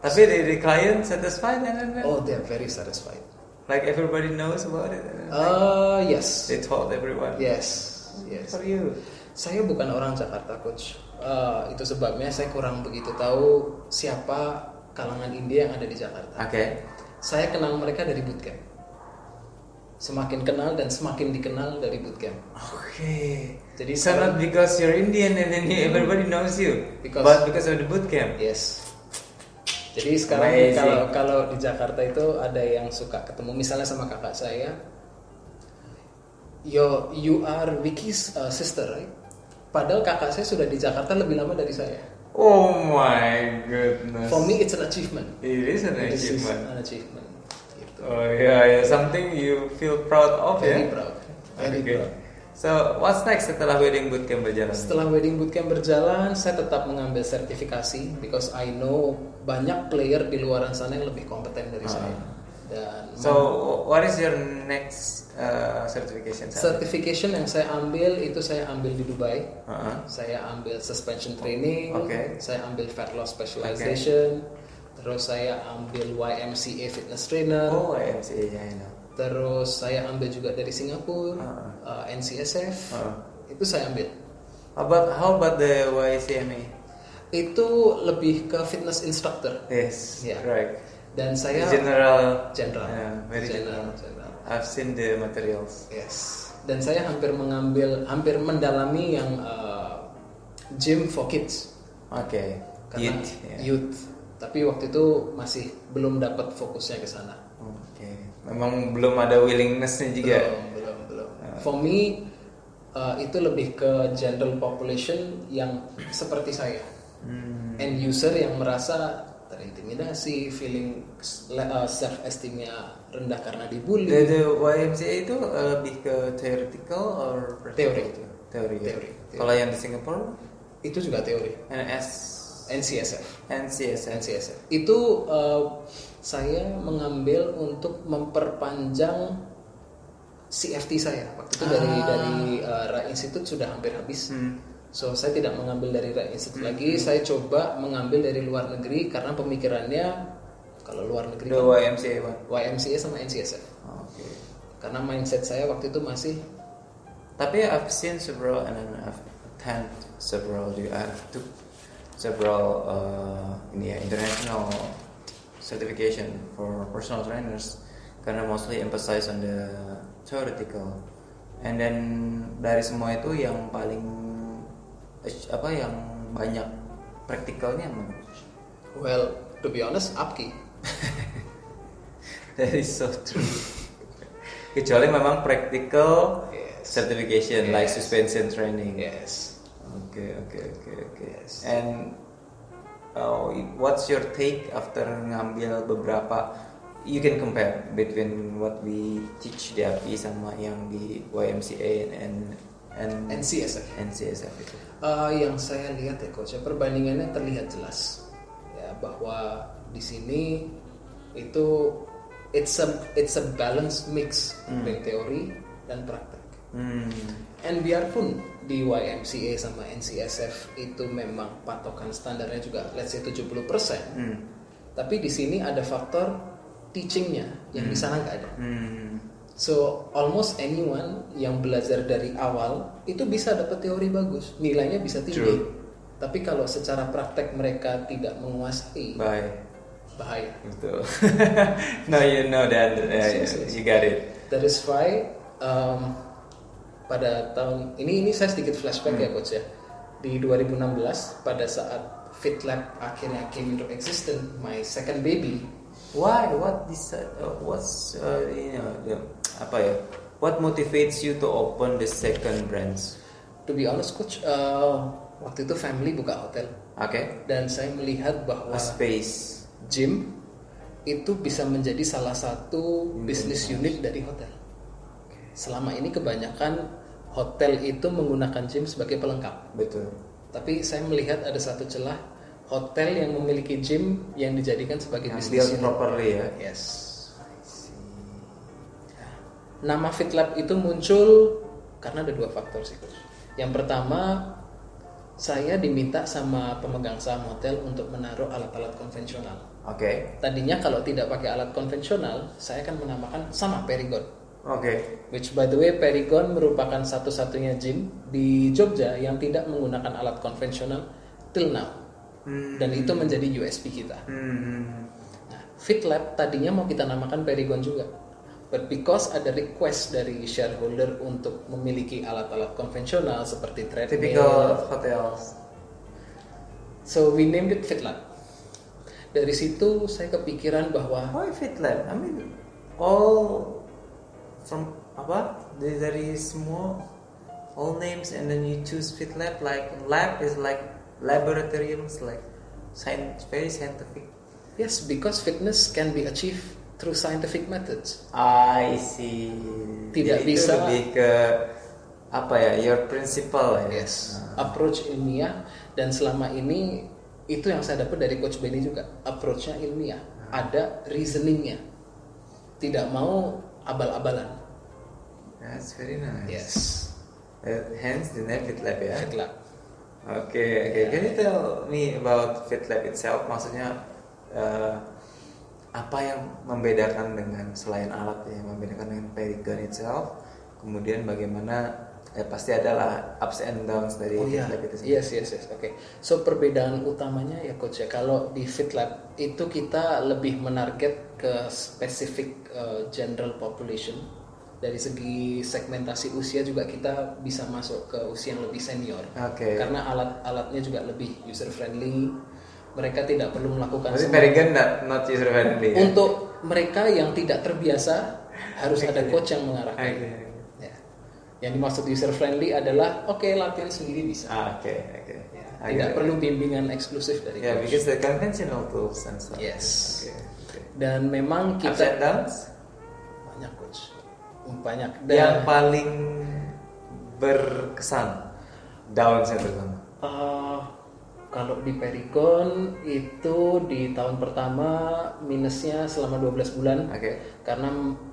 [SPEAKER 1] Tapi the, the client satisfied and then
[SPEAKER 2] oh they are very satisfied
[SPEAKER 1] like everybody knows about it. And then
[SPEAKER 2] uh yes
[SPEAKER 1] they told everyone.
[SPEAKER 2] yes yes
[SPEAKER 1] For you.
[SPEAKER 2] saya bukan orang Jakarta coach Eh, itu sebabnya saya kurang begitu tahu siapa kalangan India yang ada di Jakarta
[SPEAKER 1] Okay.
[SPEAKER 2] saya kenal mereka dari bootcamp semakin kenal dan semakin dikenal dari bootcamp
[SPEAKER 1] Okay.
[SPEAKER 2] jadi
[SPEAKER 1] It's
[SPEAKER 2] saya
[SPEAKER 1] not because you're Indian and then everybody knows you,
[SPEAKER 2] Because-
[SPEAKER 1] but because of the bootcamp.
[SPEAKER 2] Yes. Jadi sekarang
[SPEAKER 1] Amazing.
[SPEAKER 2] kalau kalau di Jakarta itu ada yang suka ketemu misalnya sama kakak saya. Yo, you are Vicky's uh, sister, right? Padahal kakak saya sudah di Jakarta lebih lama dari saya.
[SPEAKER 1] Oh my goodness.
[SPEAKER 2] For me it's an achievement.
[SPEAKER 1] it is an
[SPEAKER 2] This is
[SPEAKER 1] achievement.
[SPEAKER 2] an achievement. Gitu.
[SPEAKER 1] Oh yeah, yeah, something you feel proud of
[SPEAKER 2] Very
[SPEAKER 1] ya.
[SPEAKER 2] proud. Very
[SPEAKER 1] Okay.
[SPEAKER 2] proud.
[SPEAKER 1] So what's next setelah wedding bootcamp berjalan?
[SPEAKER 2] Setelah wedding bootcamp berjalan, saya tetap mengambil sertifikasi because I know banyak player di luaran sana yang lebih kompeten dari
[SPEAKER 1] Ah.
[SPEAKER 2] saya. Dan
[SPEAKER 1] So what is your next uh, certification? Sal?
[SPEAKER 2] Certification yang saya ambil itu saya ambil di Dubai.
[SPEAKER 1] Uh-huh.
[SPEAKER 2] Saya ambil suspension training,
[SPEAKER 1] Oke.
[SPEAKER 2] saya ambil fat loss specialization, terus saya ambil YMCA fitness trainer,
[SPEAKER 1] Oh IMCA ya, I know.
[SPEAKER 2] terus saya ambil juga dari Singapura,
[SPEAKER 1] Ah.
[SPEAKER 2] uh, NCSF.
[SPEAKER 1] Ah.
[SPEAKER 2] Itu saya ambil.
[SPEAKER 1] How about how about the YCMA?
[SPEAKER 2] Itu lebih ke fitness instructor
[SPEAKER 1] Yes,
[SPEAKER 2] Yeah.
[SPEAKER 1] right.
[SPEAKER 2] dan saya
[SPEAKER 1] general,
[SPEAKER 2] general.
[SPEAKER 1] Yeah, very general.
[SPEAKER 2] general.
[SPEAKER 1] I've seen the materials.
[SPEAKER 2] Yes. Dan saya hampir mengambil, hampir mendalami yang uh, gym for kids.
[SPEAKER 1] Oke.
[SPEAKER 2] karena
[SPEAKER 1] Youth, ya.
[SPEAKER 2] youth. Tapi waktu itu masih belum dapat fokusnya ke sana.
[SPEAKER 1] Oke. Memang belum ada willingnessnya juga.
[SPEAKER 2] Belum, belum, belum.
[SPEAKER 1] Ya.
[SPEAKER 2] For me uh, itu lebih ke general population yang seperti saya.
[SPEAKER 1] Hmm.
[SPEAKER 2] End user yang merasa terintimidasi, feeling self esteemnya rendah karena
[SPEAKER 1] The,
[SPEAKER 2] dibully.
[SPEAKER 1] the YMCA itu uh, lebih ke theoretical or practical?
[SPEAKER 2] Teori.
[SPEAKER 1] Teori. ya?
[SPEAKER 2] Teori, teori.
[SPEAKER 1] Kalau yang di Singapura,
[SPEAKER 2] Itu juga teori.
[SPEAKER 1] NS,
[SPEAKER 2] NCSF.
[SPEAKER 1] NCSN.
[SPEAKER 2] NCSF. Itu uh, saya mengambil untuk memperpanjang CFT saya. Waktu itu dari
[SPEAKER 1] Ah.
[SPEAKER 2] dari uh, Ra Institute sudah hampir habis.
[SPEAKER 1] Hmm.
[SPEAKER 2] So saya tidak mengambil dari Ra Institute lagi, saya coba mengambil dari luar negeri karena pemikirannya kalau luar negeri
[SPEAKER 1] The
[SPEAKER 2] kan
[SPEAKER 1] YMCA one.
[SPEAKER 2] YMCA sama NCSF.
[SPEAKER 1] Oke.
[SPEAKER 2] Karena mindset saya waktu itu masih
[SPEAKER 1] Tapi I've seen several and then I've attend several juga. I've took several uh, ini ya, international certification for personal trainers karena mostly emphasize on the theoretical. And then dari semua itu yang paling eh, apa yang banyak praktikalnya mana?
[SPEAKER 2] well to be honest Apki.
[SPEAKER 1] That is so true. Kecuali memang practical
[SPEAKER 2] Yes.
[SPEAKER 1] certification like
[SPEAKER 2] Yes.
[SPEAKER 1] suspension training.
[SPEAKER 2] Yes.
[SPEAKER 1] Okay, okay, okay, okay.
[SPEAKER 2] Yes.
[SPEAKER 1] And uh, what's your take after ngambil beberapa? You can compare between what we teach di API sama yang di YMCA and and
[SPEAKER 2] NCSF.
[SPEAKER 1] NCSF itu.
[SPEAKER 2] Eh, yang saya lihat ya coach, ya, perbandingannya terlihat jelas ya bahwa di sini itu it's a it's a balanced mix dari teori dan praktek.
[SPEAKER 1] Hmm.
[SPEAKER 2] And biarpun di YMCA sama NCSF itu memang patokan standarnya juga let's say 70%,
[SPEAKER 1] Hmm.
[SPEAKER 2] tapi di sini ada faktor teachingnya yang di sana nggak ada.
[SPEAKER 1] Hmm.
[SPEAKER 2] So almost anyone yang belajar dari awal itu bisa dapat teori bagus, nilainya bisa tinggi.
[SPEAKER 1] True.
[SPEAKER 2] Tapi kalau secara praktek mereka tidak menguasai,
[SPEAKER 1] Bye.
[SPEAKER 2] bahaya.
[SPEAKER 1] Betul. no, you know that. uh,
[SPEAKER 2] Yes, yes, yes.
[SPEAKER 1] You got it.
[SPEAKER 2] That is why um, pada tahun ini ini saya sedikit flashback ya coach ya. Di 2016 pada saat FitLab akhirnya came into existence, my second baby
[SPEAKER 1] Why? What this? Uh, what's uh, you know the, apa ya? What motivates you to open the second branch?
[SPEAKER 2] To be honest, coach, uh, waktu itu family buka hotel
[SPEAKER 1] Okay,
[SPEAKER 2] dan saya melihat bahwa
[SPEAKER 1] a space.
[SPEAKER 2] gym itu bisa menjadi salah satu bisnis unit dari hotel. Selama ini kebanyakan hotel itu menggunakan gym sebagai pelengkap.
[SPEAKER 1] Betul.
[SPEAKER 2] Tapi saya melihat ada satu celah hotel yang memiliki gym yang dijadikan sebagai
[SPEAKER 1] Yang
[SPEAKER 2] bisnis
[SPEAKER 1] built
[SPEAKER 2] unit.
[SPEAKER 1] properly ya.
[SPEAKER 2] Yes. Nama FitLab itu muncul karena ada dua faktor sih Coach. Yang pertama, saya diminta sama pemegang saham hotel untuk menaruh alat-alat konvensional.
[SPEAKER 1] Oke.
[SPEAKER 2] Tadinya kalau tidak pakai alat konvensional, saya akan menamakan sama Perigon.
[SPEAKER 1] Oke.
[SPEAKER 2] Which by the way, Perigon merupakan satu-satunya gym di Jogja yang tidak menggunakan alat konvensional till now.
[SPEAKER 1] Hmm.
[SPEAKER 2] Dan itu menjadi USP kita.
[SPEAKER 1] Hmm.
[SPEAKER 2] Nah, FitLab tadinya mau kita namakan Perigon juga. But because ada request dari shareholder untuk memiliki alat-alat konvensional seperti treadmill,
[SPEAKER 1] Typical hotels.
[SPEAKER 2] so we named it FitLab. Dari situ saya kepikiran bahwa
[SPEAKER 1] Why FitLab? I mean, all from apa? Dari, dari semua all names and then you choose FitLab like lab is like laboratoriums like science very scientific.
[SPEAKER 2] Yes, because fitness can be achieved through scientific methods.
[SPEAKER 1] I see.
[SPEAKER 2] Tidak
[SPEAKER 1] Jadi Itu
[SPEAKER 2] bisa.
[SPEAKER 1] lebih ke apa ya? Your principle ya.
[SPEAKER 2] Yes,
[SPEAKER 1] Nah,
[SPEAKER 2] approach ilmiah dan selama ini itu yang saya dapat dari Coach Benny juga. Approachnya ilmiah, ada reasoningnya, tidak mau abal-abalan.
[SPEAKER 1] Nah, That's very nice.
[SPEAKER 2] Yes,
[SPEAKER 1] Uh, hence the name FitLab ya.
[SPEAKER 2] fit lab.
[SPEAKER 1] Oke, oke. Can you tell me about FitLab itself? Maksudnya eh, apa yang membedakan dengan selain alat ya, membedakan dengan Perigon itself? Kemudian bagaimana? Ya pasti adalah ups and downs dari
[SPEAKER 2] Oh iya,
[SPEAKER 1] FitLab itu sendiri.
[SPEAKER 2] yes, yes, yes. Oke, so perbedaan utamanya ya coach ya. Kalau di fit lab itu kita lebih menarget ke specific uh, general population. Dari segi segmentasi usia juga kita bisa masuk ke usia yang lebih senior.
[SPEAKER 1] Ah, Oke.
[SPEAKER 2] Karena alat-alatnya juga lebih user friendly. Mereka tidak perlu melakukan
[SPEAKER 1] Berarti
[SPEAKER 2] semua-
[SPEAKER 1] Perigon not, not user friendly. ya?
[SPEAKER 2] Untuk mereka yang tidak terbiasa harus ada coach
[SPEAKER 1] Oke.
[SPEAKER 2] yang mengarahkan. Ya. Yang dimaksud user friendly adalah oke latihan sendiri bisa.
[SPEAKER 1] Ah, oke, oke.
[SPEAKER 2] Ya,
[SPEAKER 1] I
[SPEAKER 2] tidak
[SPEAKER 1] get it.
[SPEAKER 2] perlu bimbingan eksklusif dari
[SPEAKER 1] Yeah,
[SPEAKER 2] coach.
[SPEAKER 1] because the conventional tools and stuff.
[SPEAKER 2] Yes.
[SPEAKER 1] Oke, oke.
[SPEAKER 2] Dan memang
[SPEAKER 1] Ups and
[SPEAKER 2] kita
[SPEAKER 1] downs?
[SPEAKER 2] banyak coach, banyak. Dan
[SPEAKER 1] yang paling berkesan daun saya terutama
[SPEAKER 2] eh, kalau di Perigon itu di tahun pertama minusnya selama 12 bulan
[SPEAKER 1] oke
[SPEAKER 2] karena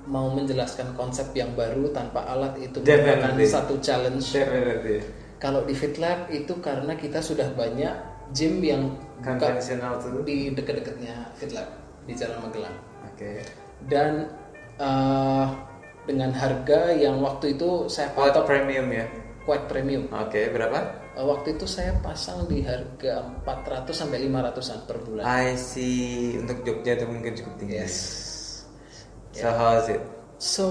[SPEAKER 2] mau menjelaskan konsep yang baru tanpa alat itu
[SPEAKER 1] Definitely.
[SPEAKER 2] merupakan satu challenge.
[SPEAKER 1] definitely
[SPEAKER 2] Kalau di FitLab itu karena kita sudah banyak gym yang buka
[SPEAKER 1] conventional tuh oke
[SPEAKER 2] di dekat-dekatnya FitLab di Jalan Magelang. dan eh, dengan harga yang waktu itu saya
[SPEAKER 1] Buat
[SPEAKER 2] patok
[SPEAKER 1] premium ya
[SPEAKER 2] quite premium.
[SPEAKER 1] oke berapa
[SPEAKER 2] Eh, waktu itu saya pasang di harga 400 sampai 500-an per bulan.
[SPEAKER 1] I see untuk Jogja itu mungkin cukup tinggi
[SPEAKER 2] Yes.
[SPEAKER 1] so how is it
[SPEAKER 2] So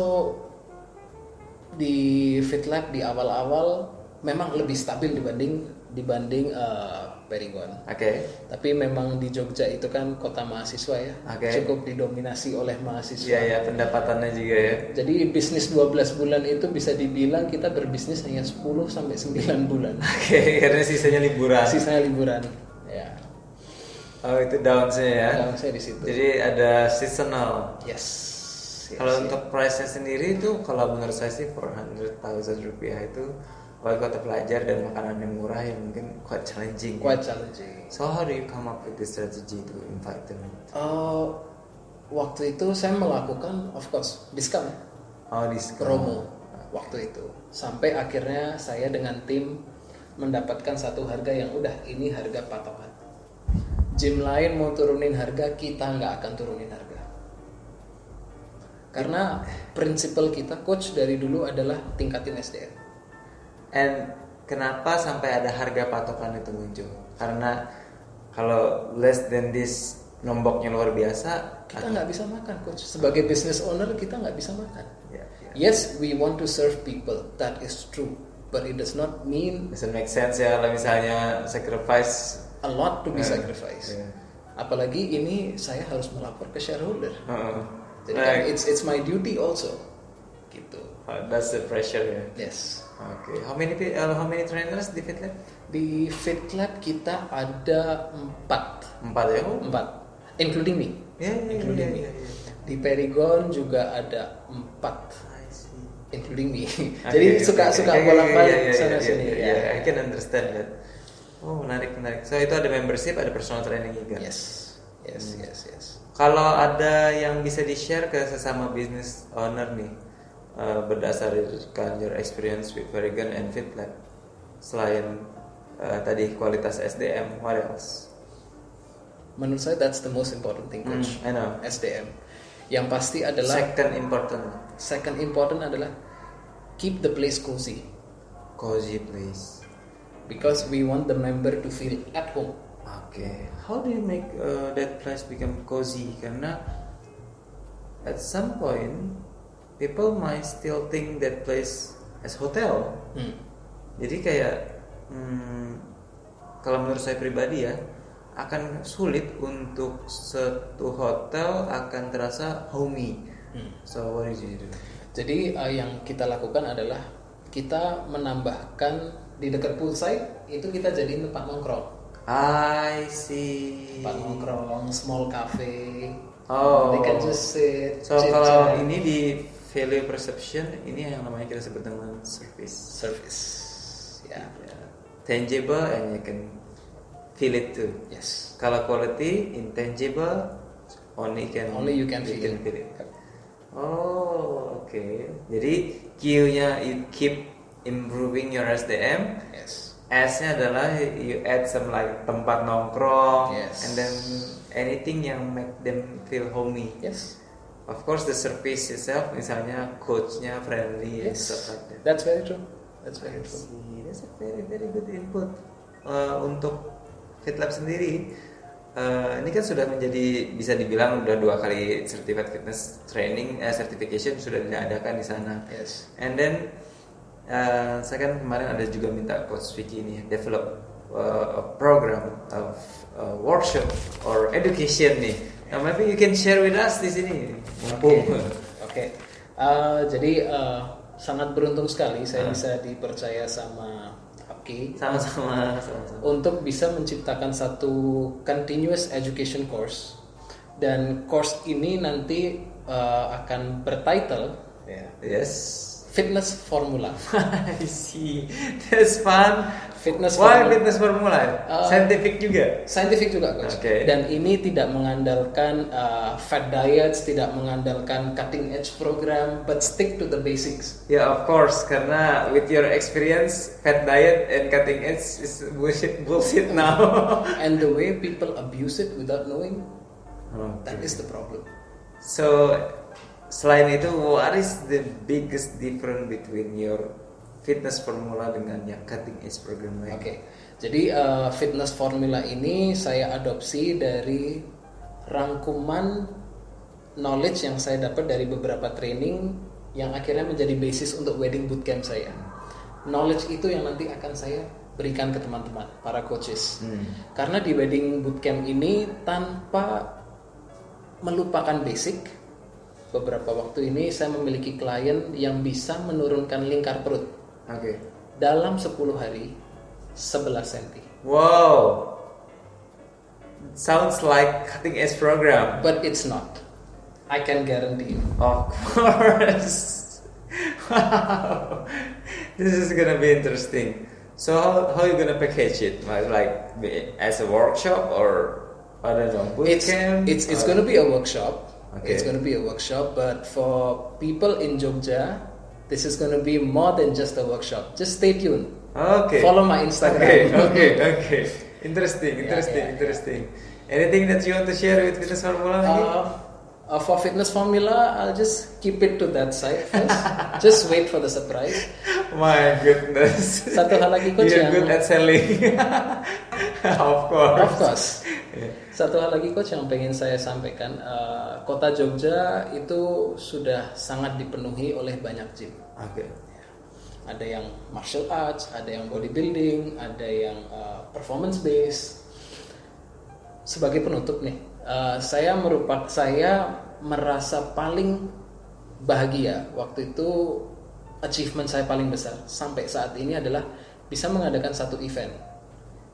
[SPEAKER 2] di FitLab di awal-awal memang lebih stabil dibanding dibanding eh, Perigon.
[SPEAKER 1] oke
[SPEAKER 2] Tapi memang di Jogja itu kan kota mahasiswa ya.
[SPEAKER 1] Oke.
[SPEAKER 2] Cukup didominasi oleh mahasiswa.
[SPEAKER 1] iya ya pendapatannya juga ya
[SPEAKER 2] Jadi bisnis 12 bulan itu bisa dibilang kita berbisnis hanya 10 sampai 9 bulan.
[SPEAKER 1] oke karena sisanya liburan
[SPEAKER 2] Sisanya liburan. Ya.
[SPEAKER 1] oh itu downsnya ya
[SPEAKER 2] Kalau saya di situ.
[SPEAKER 1] jadi ada seasonal
[SPEAKER 2] Yes. yes,
[SPEAKER 1] Kalau
[SPEAKER 2] yes.
[SPEAKER 1] untuk price-nya sendiri itu kalau menurut saya sih 400.000 rupiah itu buat kota pelajar dan makanan yang murah yang mungkin quite challenging.
[SPEAKER 2] quite challenging.
[SPEAKER 1] So how do you come up with the strategy to invite them?
[SPEAKER 2] Eh, waktu itu saya melakukan of course discount
[SPEAKER 1] Oh discount.
[SPEAKER 2] promo waktu itu. Sampai akhirnya saya dengan tim mendapatkan satu harga yang udah ini harga patokan. Gym lain mau turunin harga, kita nggak akan turunin harga. Karena prinsipal kita coach dari dulu adalah tingkatin SDM.
[SPEAKER 1] And kenapa sampai ada harga patokan itu muncul? Karena kalau less than this nomboknya luar biasa.
[SPEAKER 2] Kita nggak bisa makan coach. Sebagai business owner kita nggak bisa makan.
[SPEAKER 1] Ya, ya.
[SPEAKER 2] Yes, we want to serve people. That is true. But it does not mean
[SPEAKER 1] Doesn't make sense ya kalau misalnya sacrifice.
[SPEAKER 2] a lot to be
[SPEAKER 1] Yeah.
[SPEAKER 2] sacrificed.
[SPEAKER 1] Yeah.
[SPEAKER 2] Apalagi ini saya harus melapor ke shareholder.
[SPEAKER 1] Uh-uh.
[SPEAKER 2] Jadi kan
[SPEAKER 1] Like,
[SPEAKER 2] it's it's my duty also. Gitu.
[SPEAKER 1] Uh, that's the pressure ya.
[SPEAKER 2] Yes.
[SPEAKER 1] Okay. How many pe- uh, how many trainers di FitLab?
[SPEAKER 2] Di Fit Club kita ada empat,
[SPEAKER 1] Empat ya? Oh.
[SPEAKER 2] empat, including me.
[SPEAKER 1] Ya, ya, ya,
[SPEAKER 2] Including
[SPEAKER 1] ya,
[SPEAKER 2] me.
[SPEAKER 1] ya, ya.
[SPEAKER 2] Di Perigon juga ada empat,
[SPEAKER 1] I see.
[SPEAKER 2] including me.
[SPEAKER 1] Okay,
[SPEAKER 2] Jadi
[SPEAKER 1] okay,
[SPEAKER 2] suka
[SPEAKER 1] okay.
[SPEAKER 2] suka
[SPEAKER 1] Okay,
[SPEAKER 2] bolak balik
[SPEAKER 1] yeah, yeah,
[SPEAKER 2] sana
[SPEAKER 1] yeah,
[SPEAKER 2] sini.
[SPEAKER 1] yeah,
[SPEAKER 2] ya.
[SPEAKER 1] yeah, I can understand that. Oh menarik menarik. So itu ada membership, ada personal training juga.
[SPEAKER 2] Yes, Hmm. yes, yes, yes.
[SPEAKER 1] Kalau ada yang bisa di share ke sesama business owner nih eh, berdasarkan your experience with Verigan and FitLab, selain eh, tadi kualitas SDM, what else?
[SPEAKER 2] Menurut saya that's the most important thing,
[SPEAKER 1] Hmm,
[SPEAKER 2] coach.
[SPEAKER 1] I know.
[SPEAKER 2] SDM. Yang pasti adalah
[SPEAKER 1] Second important,
[SPEAKER 2] second important adalah keep the place cozy
[SPEAKER 1] cozy place.
[SPEAKER 2] because we want the member to feel at home.
[SPEAKER 1] Oke, how do you make uh, that place become cozy? Karena at some point people might still think that place as hotel.
[SPEAKER 2] Hmm.
[SPEAKER 1] Jadi kayak hmm, kalau menurut saya pribadi ya akan sulit untuk satu hotel akan terasa homey. So what did you do?
[SPEAKER 2] Hmm. Jadi eh, yang kita lakukan adalah kita menambahkan di dekat poolside itu kita jadiin tempat nongkrong,
[SPEAKER 1] I see.
[SPEAKER 2] tempat nongkrong, small cafe.
[SPEAKER 1] Oh.
[SPEAKER 2] They can just sit.
[SPEAKER 1] So
[SPEAKER 2] chit-chat.
[SPEAKER 1] kalau ini di value perception ini yang namanya kita sebut dengan service.
[SPEAKER 2] service, ya,
[SPEAKER 1] Yeah. Tangible and you can feel it too.
[SPEAKER 2] yes.
[SPEAKER 1] Kalau quality intangible only can
[SPEAKER 2] Only you can feel it.
[SPEAKER 1] Oh, oke. Jadi Q-nya you keep improving your SDM.
[SPEAKER 2] Yes.
[SPEAKER 1] S-nya adalah you add some like tempat nongkrong
[SPEAKER 2] Yes.
[SPEAKER 1] and then anything yang make them feel homey.
[SPEAKER 2] Yes.
[SPEAKER 1] Of course the service itself misalnya coach-nya friendly and stuff
[SPEAKER 2] Yes.
[SPEAKER 1] like that.
[SPEAKER 2] That's very true. That's
[SPEAKER 1] I
[SPEAKER 2] very true.
[SPEAKER 1] see. That's a very very good input Uh, untuk FitLab sendiri. uh, ini kan sudah menjadi bisa dibilang sudah dua kali certified fitness training eh, certification sudah diadakan di sana.
[SPEAKER 2] Yes.
[SPEAKER 1] And then uh, saya kan kemarin ada juga minta coach Vicky ini develop uh, a program of uh, workshop or education nih. Now maybe you can share with us di sini.
[SPEAKER 2] Oke.
[SPEAKER 1] Mumpung.
[SPEAKER 2] Oke. Eh, jadi eh, sangat beruntung sekali saya
[SPEAKER 1] Ah.
[SPEAKER 2] bisa dipercaya sama Hapki
[SPEAKER 1] Sama-sama sama-sama.
[SPEAKER 2] untuk bisa menciptakan satu continuous education course dan course ini nanti eh, akan bertitle
[SPEAKER 1] Ya, Yes.
[SPEAKER 2] Fitness Formula.
[SPEAKER 1] I see. That's fun.
[SPEAKER 2] Fitness
[SPEAKER 1] Why
[SPEAKER 2] formula.
[SPEAKER 1] fitness formula?
[SPEAKER 2] Uh,
[SPEAKER 1] Scientific juga.
[SPEAKER 2] Scientific juga coach.
[SPEAKER 1] Oke.
[SPEAKER 2] Dan ini tidak mengandalkan eh, fat diets, tidak mengandalkan cutting edge program, but stick to the basics.
[SPEAKER 1] Ya of course karena with your experience fat diet and cutting edge is bullshit bullshit now.
[SPEAKER 2] and the way people abuse it without knowing
[SPEAKER 1] Oh,
[SPEAKER 2] that is the problem
[SPEAKER 1] So selain itu what is the biggest difference between your fitness formula dengan yang cutting edge program
[SPEAKER 2] oke
[SPEAKER 1] lain?
[SPEAKER 2] jadi uh, fitness formula ini saya adopsi dari rangkuman knowledge yang saya dapat dari beberapa training yang akhirnya menjadi basis untuk wedding bootcamp saya knowledge itu yang nanti akan saya berikan ke teman-teman para coaches
[SPEAKER 1] Hmm.
[SPEAKER 2] karena di wedding bootcamp ini tanpa melupakan basic beberapa waktu ini saya memiliki klien yang bisa menurunkan lingkar perut
[SPEAKER 1] Oke.
[SPEAKER 2] dalam 10 hari 11 cm
[SPEAKER 1] Wow. Sounds like cutting edge program.
[SPEAKER 2] but it's not I can guarantee you
[SPEAKER 1] Of course. wow. This is gonna be interesting. So how how you gonna package it? Like, like be- as a workshop or I don't know boot
[SPEAKER 2] it's
[SPEAKER 1] camp?
[SPEAKER 2] it's it's
[SPEAKER 1] or-
[SPEAKER 2] gonna be a workshop
[SPEAKER 1] uh, Okay.
[SPEAKER 2] it's gonna be a workshop but for people in Jogja this is gonna be more than just a workshop just stay tuned
[SPEAKER 1] okay.
[SPEAKER 2] follow my Instagram
[SPEAKER 1] Okay, okay, okay. Interesting,
[SPEAKER 2] Yeah,
[SPEAKER 1] interesting,
[SPEAKER 2] yeah,
[SPEAKER 1] interesting. Anything that you want to share with Fitness Formula lagi?
[SPEAKER 2] Uh, uh, for fitness formula, I'll just keep it to that side first. just wait for the surprise.
[SPEAKER 1] My goodness.
[SPEAKER 2] Satu hal lagi, Coach,
[SPEAKER 1] You're
[SPEAKER 2] yang-
[SPEAKER 1] good at selling. of course.
[SPEAKER 2] Of course. Satu hal lagi coach yang pengen saya sampaikan, uh, kota Jogja itu sudah sangat dipenuhi oleh banyak gym.
[SPEAKER 1] Okay.
[SPEAKER 2] Ada yang martial arts, ada yang bodybuilding, ada yang uh, performance based. Sebagai penutup nih, uh, saya merupakan saya merasa paling bahagia waktu itu achievement saya paling besar sampai saat ini adalah bisa mengadakan satu event,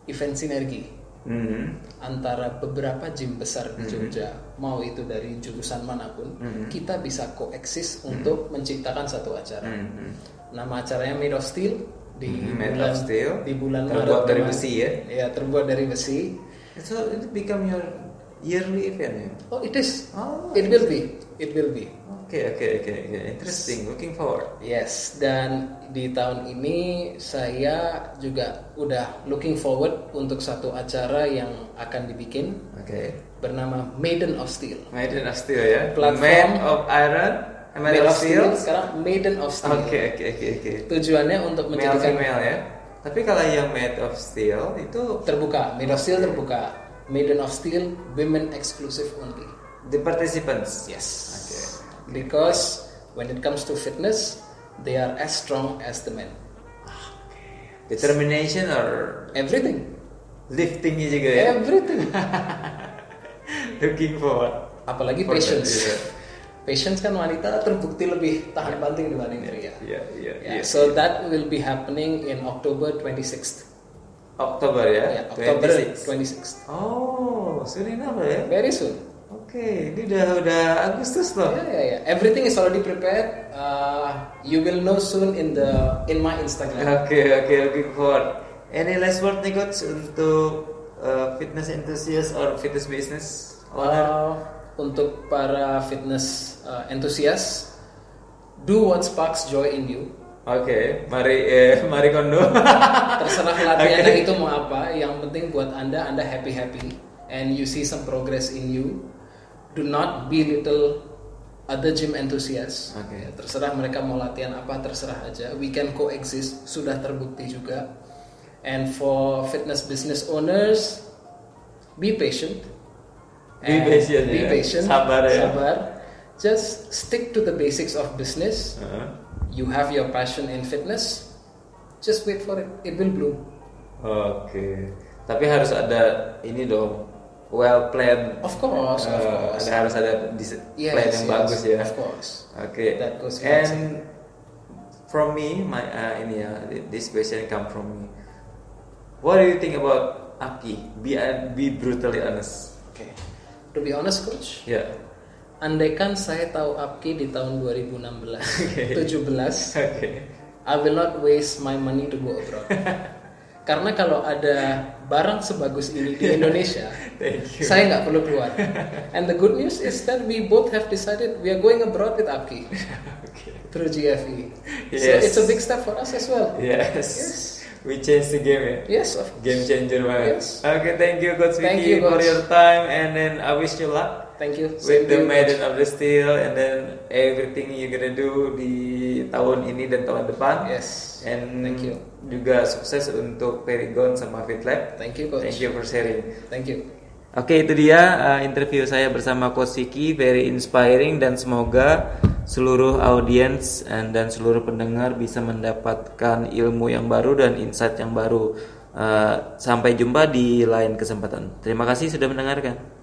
[SPEAKER 2] event sinergi
[SPEAKER 1] Mhm.
[SPEAKER 2] antara beberapa gym besar di Jogja, mau itu dari jurusan manapun, kita bisa koeksis untuk menciptakan satu acara.
[SPEAKER 1] Mhm.
[SPEAKER 2] Nama acaranya Made of Steel di
[SPEAKER 1] Mhm, Made
[SPEAKER 2] bulan
[SPEAKER 1] of Steel.
[SPEAKER 2] di bulan
[SPEAKER 1] Terbuat
[SPEAKER 2] Maret
[SPEAKER 1] dari
[SPEAKER 2] kemarin.
[SPEAKER 1] besi ya?
[SPEAKER 2] Iya, terbuat dari besi.
[SPEAKER 1] So it become your yearly event ya?
[SPEAKER 2] Oh, it is.
[SPEAKER 1] Oh,
[SPEAKER 2] it will be. It will be.
[SPEAKER 1] Oke oke oke oke interesting looking forward.
[SPEAKER 2] Yes, dan di tahun ini saya juga udah looking forward untuk satu acara yang akan dibikin
[SPEAKER 1] Oke.
[SPEAKER 2] bernama Maiden of Steel.
[SPEAKER 1] Maiden of Steel ya.
[SPEAKER 2] Platform.
[SPEAKER 1] Made of Iron, Made of Steel.
[SPEAKER 2] sekarang Maiden of Steel.
[SPEAKER 1] Oke oke oke oke.
[SPEAKER 2] Tujuannya untuk
[SPEAKER 1] Male
[SPEAKER 2] menjadikan
[SPEAKER 1] female ya. Tapi kalau yang Made of Steel itu
[SPEAKER 2] terbuka, Maiden of Steel terbuka. Maiden of Steel women exclusive only.
[SPEAKER 1] the participants.
[SPEAKER 2] Yes.
[SPEAKER 1] Oke.
[SPEAKER 2] Because when it comes to fitness, they are as strong as the men.
[SPEAKER 1] Determination or
[SPEAKER 2] Everything.
[SPEAKER 1] liftingnya juga ya.
[SPEAKER 2] Everything.
[SPEAKER 1] Looking forward.
[SPEAKER 2] Apalagi
[SPEAKER 1] For that,
[SPEAKER 2] patience.
[SPEAKER 1] iya.
[SPEAKER 2] Patience kan wanita terbukti lebih tahan banting dibanding pria.
[SPEAKER 1] Iya iya
[SPEAKER 2] Yeah,
[SPEAKER 1] iya.
[SPEAKER 2] Ya, so that will be happening in October 26th.
[SPEAKER 1] Oktober ya.
[SPEAKER 2] Yeah, October
[SPEAKER 1] 26.
[SPEAKER 2] 26th.
[SPEAKER 1] Oh, sudah apa ya?
[SPEAKER 2] Very soon.
[SPEAKER 1] Oke, ini udah udah Agustus loh.
[SPEAKER 2] Yeah, yeah, yeah. Everything is already prepared. Uh, you will know soon in the in my Instagram.
[SPEAKER 1] Oke oke looking forward. Any last word nih coach untuk uh, fitness enthusiast or fitness business owner?
[SPEAKER 2] Uh, untuk para fitness uh, enthusiast, do what sparks joy in you.
[SPEAKER 1] Oke, mari eh, mari kondo.
[SPEAKER 2] Terserah latihan yang itu mau apa. Yang penting buat anda, anda happy happy and you see some progress in you. Do not belittle other gym enthusiasts.
[SPEAKER 1] Oke.
[SPEAKER 2] Ya, Terserah mereka mau latihan apa, terserah aja. We can coexist, sudah terbukti juga. And for fitness business owners, be patient.
[SPEAKER 1] Be
[SPEAKER 2] And
[SPEAKER 1] patient,
[SPEAKER 2] Be
[SPEAKER 1] ya.
[SPEAKER 2] patient.
[SPEAKER 1] Sabar, ya.
[SPEAKER 2] Sabar. Just stick to the basics of business.
[SPEAKER 1] Heeh.
[SPEAKER 2] You have your passion in fitness. Just wait for it. It will bloom.
[SPEAKER 1] Oke, tapi harus ada ini dong well planned.
[SPEAKER 2] Of course, of
[SPEAKER 1] Eh,
[SPEAKER 2] course.
[SPEAKER 1] ada- harus ada dis-
[SPEAKER 2] Yes,
[SPEAKER 1] plan yang
[SPEAKER 2] yes,
[SPEAKER 1] bagus ya.
[SPEAKER 2] Of course.
[SPEAKER 1] Oke.
[SPEAKER 2] That goes without
[SPEAKER 1] And from me, my uh, ini ya, this question come from me. What do you think about Aki? Be uh, be brutally honest.
[SPEAKER 2] Okay. To be honest, coach,
[SPEAKER 1] Ya.
[SPEAKER 2] andaikan saya tahu Apki di tahun 2016, 17,
[SPEAKER 1] Oke.
[SPEAKER 2] I will not waste my money to go abroad. Karena kalau ada barang sebagus ini di Indonesia,
[SPEAKER 1] Thank you.
[SPEAKER 2] saya nggak perlu keluar. And the good news is that we both have decided we are going abroad with Apki
[SPEAKER 1] Okay.
[SPEAKER 2] through GFE. So
[SPEAKER 1] Yes.
[SPEAKER 2] it's a big step for us as well.
[SPEAKER 1] Yes.
[SPEAKER 2] Yes.
[SPEAKER 1] We change the game ya.
[SPEAKER 2] Yes, of course.
[SPEAKER 1] Game changer banget.
[SPEAKER 2] Yes.
[SPEAKER 1] Okay, thank you Coach
[SPEAKER 2] Thank
[SPEAKER 1] Vicky
[SPEAKER 2] you, Coach.
[SPEAKER 1] for your time and then I wish you luck
[SPEAKER 2] Thank you.
[SPEAKER 1] with
[SPEAKER 2] Same to
[SPEAKER 1] the
[SPEAKER 2] you, coach.
[SPEAKER 1] Maiden of the Steel and then everything you gonna do di tahun ini dan tahun depan.
[SPEAKER 2] Yes.
[SPEAKER 1] And
[SPEAKER 2] Thank you.
[SPEAKER 1] juga sukses untuk Perigon sama FitLab.
[SPEAKER 2] Thank you, coach.
[SPEAKER 1] Thank you for sharing.
[SPEAKER 2] Thank you.
[SPEAKER 1] Oke, itu dia uh, interview saya bersama Coach Siki, very inspiring dan semoga seluruh audiens and- dan seluruh pendengar bisa mendapatkan ilmu yang Eh, baru dan insight yang baru. Uh, sampai jumpa di lain kesempatan. Terima kasih sudah mendengarkan.